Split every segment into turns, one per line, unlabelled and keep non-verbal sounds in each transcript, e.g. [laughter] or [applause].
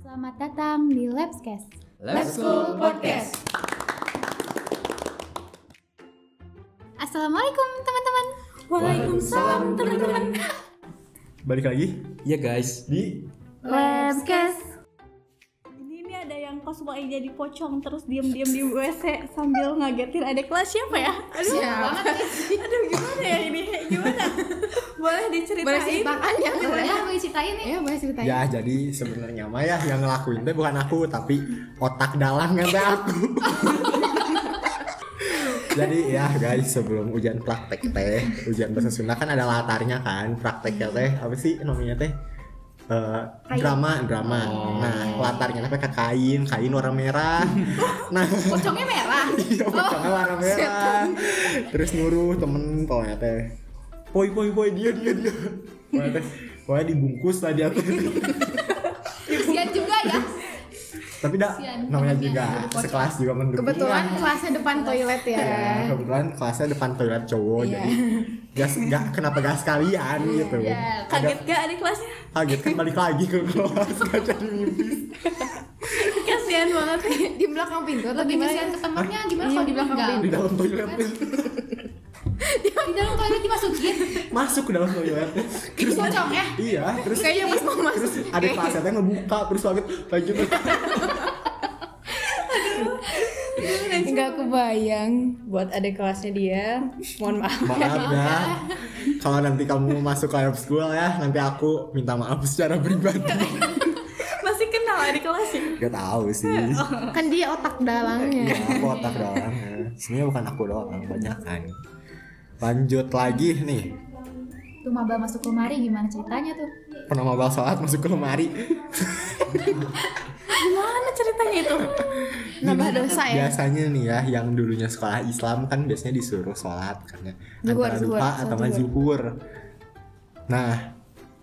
Selamat datang di Labscast.
Let's School Podcast.
Assalamualaikum teman-teman.
Waalaikumsalam, teman-teman.
Balik lagi
Iya guys, di
Labscast.
Jadi ini ada yang cosplay jadi pocong terus diem-diem di WC sambil ngagetin adik kelas siapa ya? Aduh,
Iya,
banget. Aduh, gimana ya ini? Gimana? Boleh diceritain?
Iya,
ya, boleh aku ceritain nih. Iya, boleh ceritain.
Ya jadi sebenarnya mah ya yang ngelakuin teh bukan aku tapi otak dalang kan teh aku [laughs] Jadi ya guys sebelum ujian praktek teh Ujian bahasa Sunda kan ada latarnya kan Prakteknya teh apa sih namanya teh Eh, drama drama nah latarnya teh pakai kain kain warna merah nah
[laughs] Pocongnya merah. Oh,
iya pocongnya warna merah terus nyuruh temen pokoknya teh poi poi poi dia dia dia pokoknya teh pokoknya dibungkus tadi aku
Kasian juga [laughs] ya.
tapi dah
Kasian,
namanya
temennya
juga
jadi pocong.
sekelas juga mendukung
Kebetulan
lah.
kelasnya depan toilet ya.
ya kebetulan kelasnya depan toilet cowok
Iya.
jadi gas gak kenapa gas kalian gitu
Iya.
Kaget gak adik kelasnya?
kaget kan balik lagi ke
[laughs]
kelas [laughs] gak jadi mimpi
Kasihan banget.
[laughs] Di belakang pintu atau
Lebih
gimana?
kasihan ke temennya gimana
Iya,
kalau
di belakang
dibilang
di dalam toilet
Di dalam toilet dimasukin.
masuk ke dalam toilet terus
Pocong ya?
iya terus
Kayaknya pas mau masuk.
terus ada kelasnya teh ngebuka terus kaget lanjut
Enggak kebayang buat adik kelasnya dia. Mohon maaf.
Maaf ya. Kalau nanti kamu masuk ke lab school ya, nanti aku minta maaf secara pribadi.
Masih kenal adik kelasnya?
Gak tahu sih. Ya,
Kan dia otak dalangnya.
aku otak doang. Sebenarnya bukan aku doang, banyak kan. Lanjut lagi nih.
Tuh maba masuk lemari gimana ceritanya tuh?
Pernah mabal sholat masuk ke lemari.
Gimana ceritanya itu?
Nambah dosa ya.
Biasanya nih ya, yang dulunya sekolah Islam kan biasanya disuruh sholat karena
Zuhur,
antara
zuhur,
duha
sholat
atau nggak zuhur. Nah,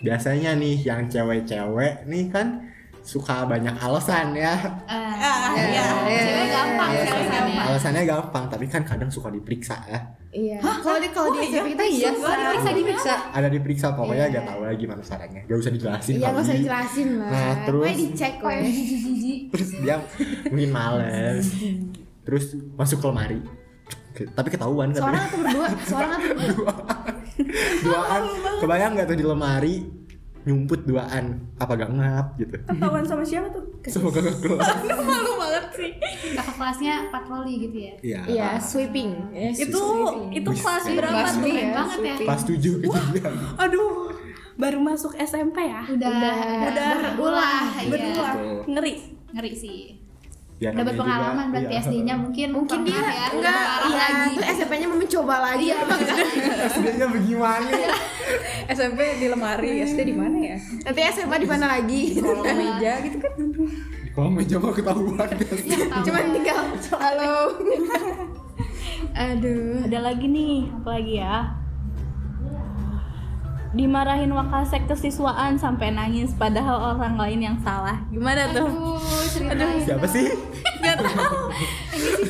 biasanya nih yang cewek-cewek nih kan suka banyak alasan ya
Eh,
Ah, iya.
iya,
cewek gampang kan,
Iya,
cewek
alasannya-
gampang.
alasannya gampang tapi kan kadang suka diperiksa ya
Iya. Kalau di kalau di SMP kita iya.
Kalau Oh, diperiksa gimana?
ada diperiksa pokoknya
Iya.
gak tahu lagi gimana caranya gak usah dijelasin
Iya,
kali.
nggak usah dijelasin lah.
Nah, terus-
Pokoknya dicek
Kok
kok
yang
ya.
jijik-jijik?
terus dia mungkin males terus masuk ke lemari Ke- tapi ketahuan
Seorang
katanya
atau berdua? Seorang atau berdua?
duaan kebayang gak tuh di lemari nyumput duaan apa gak ngap gitu
Ketahuan sama siapa tuh?
semoga gak keluar
Aduh, malu banget sih.
Kakak kelasnya patroli gitu ya.
iya
Iya, sweeping. Iya,
Itu
sweeping.
itu kelas
Wih,
berapa
kelas
tuh?
dua.
Keren banget ya.
pas tujuh kejadian
Aduh, baru masuk SMP ya?
Udah
Iya.
Udah
berulah, iya.
Berdua. Ngeri.
Ngeri sih. dapat
Ya, namanya juga-
pengalaman berarti
iya.
SD-nya mungkin
Mungkin dia
pernah ya,
enggak
parah
iya,
lagi.
terus SMP-nya mau mencoba lagi. [laughs]
SD-nya bagaimana
SMP di lemari, SD di mana ya?
Nanti SMA di mana lagi?
Meja gitu kan.
kalau meja mah ketahuan guys.
Cuman tinggal halo. [laughs] Aduh.
Ada lagi nih, apa lagi ya? Dimarahin wakasek kesiswaan sampai nangis padahal orang lain yang salah. Gimana tuh?
Aduh, ceritain.
siapa sih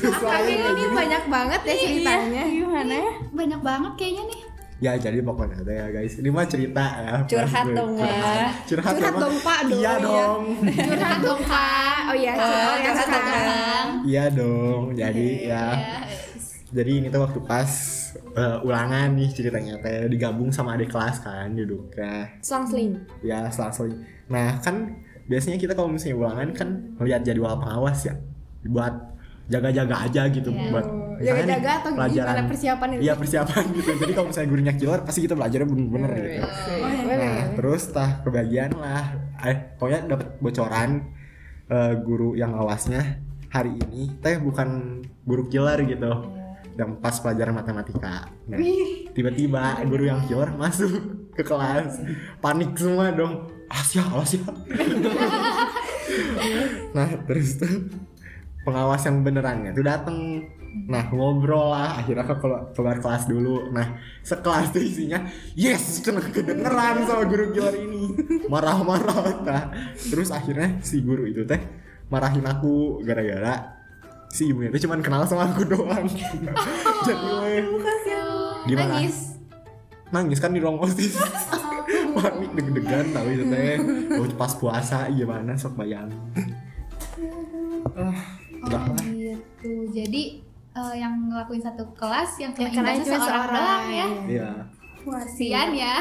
Kayaknya ini banyak banget ya ceritanya.
Iya, gimana ya?
Banyak banget kayaknya nih.
Ya jadi pokoknya ada ya guys. Ini mah cerita ya.
Curhat
Pas gue-
dong, Wak.
Curhat, curhat,
Curhat
emang.
dong, Pak, dong,
Iya
ya.
dong.
Curhat dong kak. Oh iya, curhat ya
curhat dong,
Kak.
Iya dong. Jadi
iya,
ya. Jadi ini tuh waktu pas eh, ulangan nih ceritanya teh digabung sama adik kelas kan duduknya.
Selang-seling.
Ya selang-seling. Nah kan biasanya kita kalau misalnya ulangan kan melihat jadwal pengawas ya. Buat jaga-jaga aja gitu
Iya.
buat misalnya nih,
Jaga-jaga atau gimana persiapan itu?
Iya persiapan gitu. Jadi kalau misalnya gurunya killer pasti kita belajarnya
Oh,
bener-bener
Iya,
gitu. Nah, terus tah kebagian lah. Eh, pokoknya dapat bocoran eh, guru yang awasnya hari ini teh bukan guru killer gitu. Dan pas pelajaran matematika. Nah, tiba-tiba guru yang killer masuk ke kelas. Panik semua dong. Ah, Asia, Asia. nah, terus tuh pengawas yang benerannya tuh dateng nah ngobrol lah akhirnya aku kelu- keluar kelas dulu nah sekelas tuh isinya yes kena kedengeran sama guru killer ini [laughs] marah-marah nah terus akhirnya si guru itu teh marahin aku gara-gara si ibunya tuh cuman kenal sama aku doang [laughs] jadi weh,
Aduh,
gimana
Nangis.
[laughs] nangis kan di ruang osis panik deg-degan tahu itu teh oh, pas puasa gimana sok bayang ah, udah
Oh gitu. Jadi eh, yang ngelakuin satu kelas yang kena
Yang kena
imbasnya
cuma
seorang,
seorang,
doang ya.
iya
Kasian ya.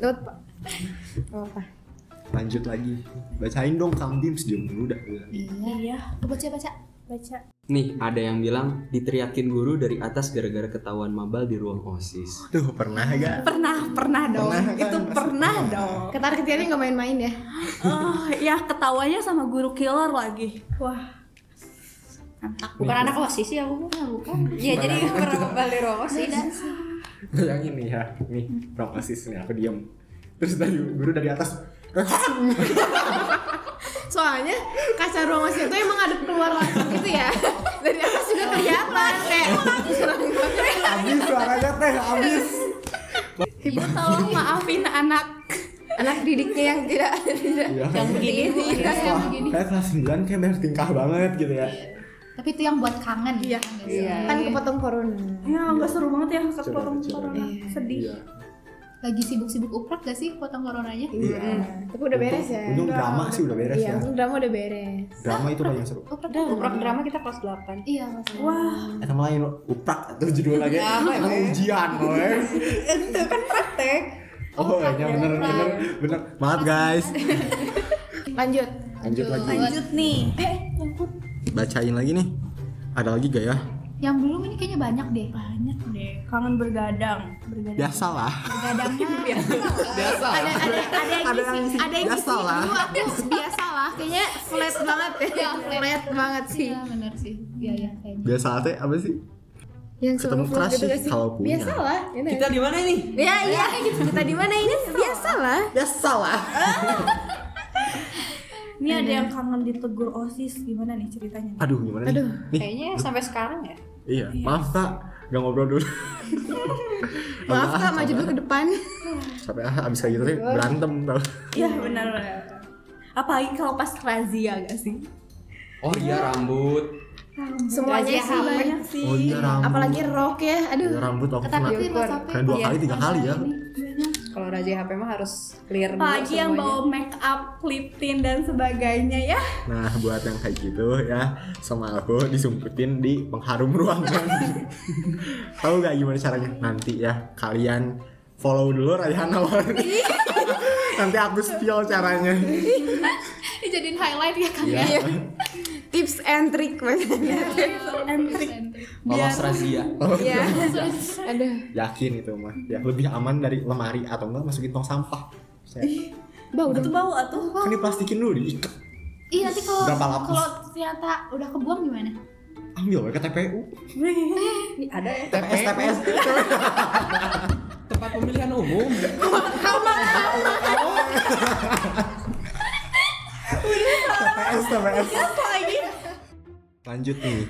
Lewat pak. Oh, apa?
lanjut lagi bacain dong kang Bims diem dulu dah
Iya.
Baca baca.
Baca.
Nih, ada yang bilang diteriakin guru dari atas gara-gara ketahuan mabal di ruang OSIS.
tuh pernah ya? gak
Pernah, pernah dong.
Pernah, kan?
Itu pernah dong.
Ketar ketiarnya nggak main-main ya?
Oh, ya ketawanya sama guru killer lagi. Wah.
Bukan anak osis sih aku. bukan. Iya jadi pernah kembali rokok sih.
bayangin nih ya nih ruang osis nih aku diem terus dari guru dari atas "Eh,
Soalnya kaca ruang osis itu emang ada keluar langsung gitu ya. [laughs] Dari atas juga kelihatan kayak.
habis suaranya teh habis
Ibu tolong maafin anak.
Anak didiknya yang tidak tidak.
Iya.
begini.
Iya, yang
Wah,
begini.
kayak kelas 9 kayak bener tingkah banget gitu ya
Tapi itu yang buat kangen.
Iya.
Kangen.
Kan kepotong corona.
Ya, nggak seru banget ya kepotong
Coba, coba.
corona. Sedih.
iya
Lagi sibuk-sibuk uprek gak sih potong coronanya?
Iya.
Tapi udah beres
Untung-
ya.
Untung drama sih udah beres
Iya,
ya.
untung drama udah beres.
Drama itu paling seru.
Uprek.
Kuprak drama kita kelas 8
Iya, Mas.
Wah,
Eh sama lain uprak atau judul lagi. Emang ujian loh.
Iya, ya? Itu kan praktek
Oh, ya bener bener bener. Maaf guys.
Lanjut
Lanjut lagi.
lanjut nih.
Bacain lagi nih. Ada lagi gak ya?
Yang belum ini kayaknya banyak deh.
Banyak deh. Kangen bergadang. Bergadang.
Ya. Biasalah.
Begadangnya.
Biasa.
Ada ada ada yang
Ada yang
kisi Ada yang
biasa
kisi
lah.
Dulu aku biasa lah Kayaknya flat banget ya Flat banget sih
Iya, bener sih. Iya, iya kayaknya.
Biasa teh apa sih?
Yang
Ketemu
selalu
crush
gitu
sih
gak sih?
kalau punya.
Biasa lah ini.
Kita di mana nih?
Ya iya Kita di mana ini Biasa lah
Biasalah.
Ini ada yang kangen ditegur OSIS gimana nih ceritanya?
Aduh, gimana nih?
Aduh
Nih,
Kayaknya sampai sekarang ya
iya. Maaf Kak, gak ngobrol dulu.
Maaf kak maju dulu ke depan
Sampai ah, abis kayak gitu teh berantem tau.
Iya, benar benar. Apalagi kalau pas razia gak sih?
Oh iya rambut.
Semuanya
Razia
sih
banyak sih.
Oh iya rambut.
Apalagi rok ya Aduh
Iya, rambut aku kena.
Ketakutin Mas
Iya.
Ape.
Kena dua
Iya.
kali, tiga kali ya.
Kalau Raja HP mah harus clear dulu
Apalagi yang
semuanya.
bawa make up, lip tint dan sebagainya ya.
Nah, buat yang kayak gitu ya, sama aku disumputin di pengharum ruangan. Tahu gak gimana caranya? Nanti ya kalian follow dulu Rayhana Wari. Nanti aku spill caranya.
Dijadiin highlight ya
Iya.
Kang ya.
Tips and trick maksudnya
Lolos razia.
Iya [laughs] Aduh
Yakin itu mah. Ya lebih aman dari lemari atau enggak masukin tong sampah. Saya-
Bau
Itu
dong
bau atuh.
kan diplastikin dulu diikat.
Iya nanti kalau
Berapa lapis?
kalau ternyata udah kebuang gimana?
Ambil we ke TPU.
Ini ada ya
TPS TPS.
Tempat pemilihan umum.
TPS TPS. Lanjut nih.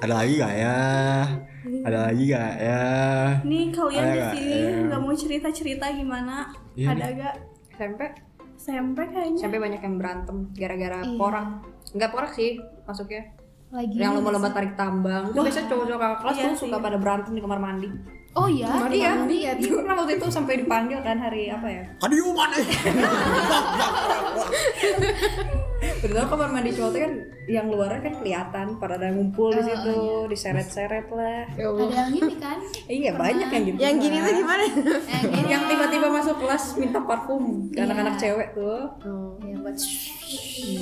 Ada lagi gak ya? Ada lagi gak ya?
Nih kalian
Ada
di
nggak?
sini
Iya.
nggak mau cerita-cerita gimana?
Iya
ada gak?
SMP
SMP kayaknya.
SMP banyak yang berantem gara-gara
Iya.
porak Enggak porak sih masuknya
Lagi.
Yang lomba-lomba tarik tambang Itu biasanya cowok-cowok kakak kelas
Iya
tuh suka
sih.
pada berantem di kamar mandi
Oh iya.
Iya, iya tuh Pernah waktu itu sampai dipanggil kan hari apa ya
Kadiuman eh.
Terutama kamar mandi cowok tuh kan yang luarnya kan kelihatan Pada ada ngumpul di situ, diseret-seret lah
ya
Ada yang ini
[laughs]
kan?
Iya banyak yang gitu
Yang gini tuh gimana?
Eh, gini.
yang tiba-tiba masuk kelas minta parfum ke
Iya.
anak-anak cewek tuh
Iya, buat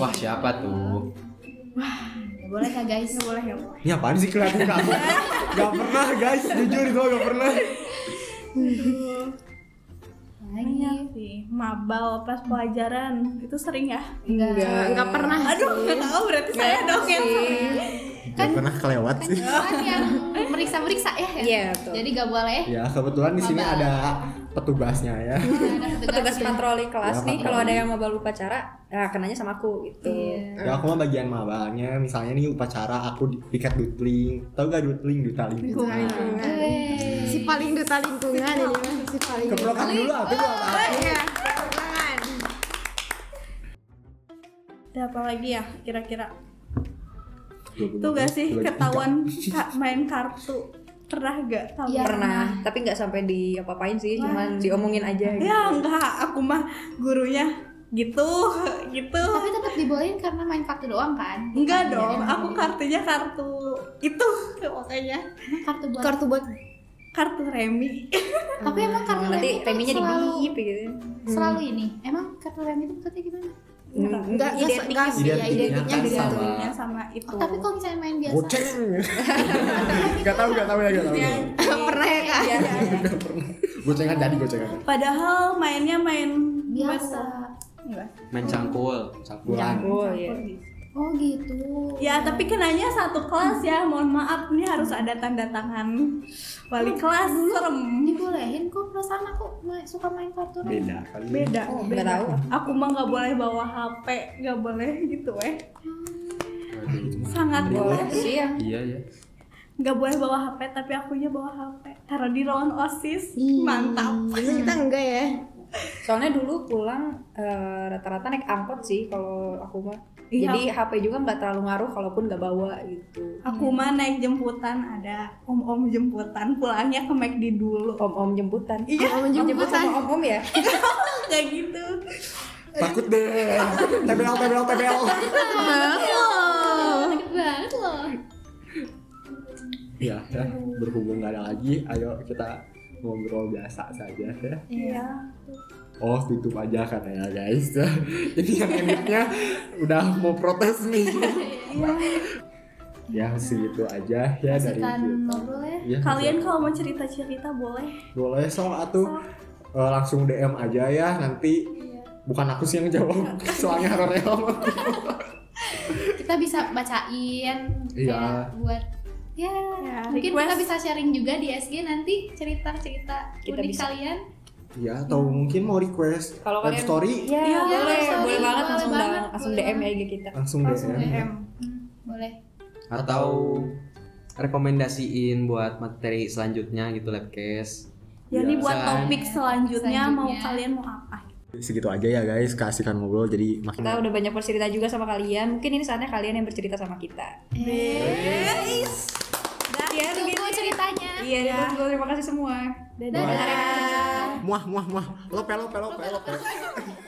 Wah siapa tuh?
Ya, boleh kan guys? boleh ya.
Ini apaan sih kelihatan kamu? gak pernah guys, jujur itu gak pernah.
Lagi.
Iya Sih, mabal pas pelajaran itu sering ya?
Enggak.
Enggak pernah
Ah,
Aduh, nggak tahu berarti saya dong yang sering.
Gak pernah kelewat sih.
Kan yang meriksa-meriksa ya. ya?
Iya, betul.
Jadi gak boleh.
Ya kebetulan di sini
Mabal.
ada petugasnya ya.
Ada
petugas patroli
Ya,
kelas nih
patroli.
kalau ada yang mabal upacara ya kenanya sama aku gitu
Ya aku mah bagian mabalnya. Misalnya nih upacara aku di- piket dutling. Tahu gak dutling dutaling?
lingkungan.
Wey.
Si paling duta lingkungan ini mah, si paling
Keprokan dulu apa tuh apa?
Iya, keprokan.
Ada apa lagi ya kira-kira?
Dua puluh
Tuh gak sih
dua puluh tiga.
ketahuan ka- main kartu pernah gak tahu
Iya.
pernah
pernah.
tapi nggak sampai di apa-apain sih
Wah.
cuman diomongin aja gitu
Iya,
ya enggak aku mah gurunya gitu
Iya.
gitu
Tapi tetap dibolehin karena main kartu doang kan? Iya,
enggak dong
emang.
aku kartunya kartu itu makanya
Emang kartu buat.
kartu buat
kartu remi
Tapi emang kartu
berarti
remi itu
Iya. reminya
selalu Iya,
digigit gitu
selalu ini. Emang kartu remi itu maksudnya gimana?
enggak
Identik
enggak
sih,
Iya,
Identik,
ya,
identiknya
identiknya
sama.
gitu.
digabungnya sama itu
Oh, tapi kalau misalnya main biasa.
Goceng. [laughs] Gak tahu, gak tahu ya, gak tahu.
[laughs]
Pernah ya kak?
[laughs] Iya, iya.
Gocengan tadi, gocengan.
padahal mainnya main
Biasa.
Enggak.
main cangkul cangkul
jago ya
Oh gitu.
Ya tapi kenanya satu kelas ya, mohon maaf nih harus ada tanda tangan wali kelas serem.
dibolehin kok perasaan aku ma- suka main kartu remi.
Beda kali.
Beda.
Oh, nggak
beda.
tahu.
Aku mah nggak boleh bawa HP, nggak boleh gitu eh.
Waduh.
Sangat boleh.
sih ya
iya ya
Nggak boleh bawa HP tapi akunya bawa HP. Taruh di ruangan OSIS.
Ih.
Mantap.
Kita enggak ya.
soalnya dulu pulang eh, rata-rata naik angkot sih kalau aku mah
Iya.
jadi HP juga nggak terlalu ngaruh kalaupun nggak bawa gitu
Aku mah naik jemputan ada om-om jemputan pulangnya ke McD dulu.
om-om jemputan
Iya.
Om
jemput
jemputan.
sama om-om ya
Kayak gitu.
Takut deh. Tebel, tebel, tebel.
Sakit banget loh.
Ya, ya, berhubung gak ada lagi, ayo kita ngobrol biasa saja ya.
Iya.
Oh, tutup aja katanya guys. [laughs] Ini yang editnya udah mau protes nih.
Iya.
ya, segitu aja ya dari
Suka
kita.
ngobrol ya.
Ya,
Kalian kalau mau cerita-cerita boleh.
boleh sok atuh Eh, langsung DM aja ya nanti
Iya.
bukan aku sih
[laughs]
yang jawab soalnya horornya om.
Kita bisa bacain
Iya.
kayak buat ya,
Ya,
mungkin
request.
kita bisa sharing juga di SG nanti cerita-cerita
Kita
unik
bisa.
kalian.
ya atau mungkin mau request
Kalau
web
kalian-
story
Iya,
[laughs] Iya,
boleh,
sorry,
boleh banget
boleh
langsung
banget,
dang- langsung
boleh
DM ya IG kita.
langsung,
Langsung ya.
DM.
DM.
Hmm, boleh.
atau rekomendasiin buat materi selanjutnya gitu labcase
Iya.
Jadi Ya, buat
Bisa.
topik selanjutnya, mau
Selanjutnya.
kalian mau apa?
segitu aja ya guys kasihkan ngobrol jadi makin
Kita
Iya.
udah banyak bercerita juga sama kalian. Mungkin ini saatnya kalian yang bercerita sama kita. Iya,
Eh, Tunggu ceritanya.
Iya, ditunggu. terima kasih semua.
Dadah. muah muah muah lope lope lope lope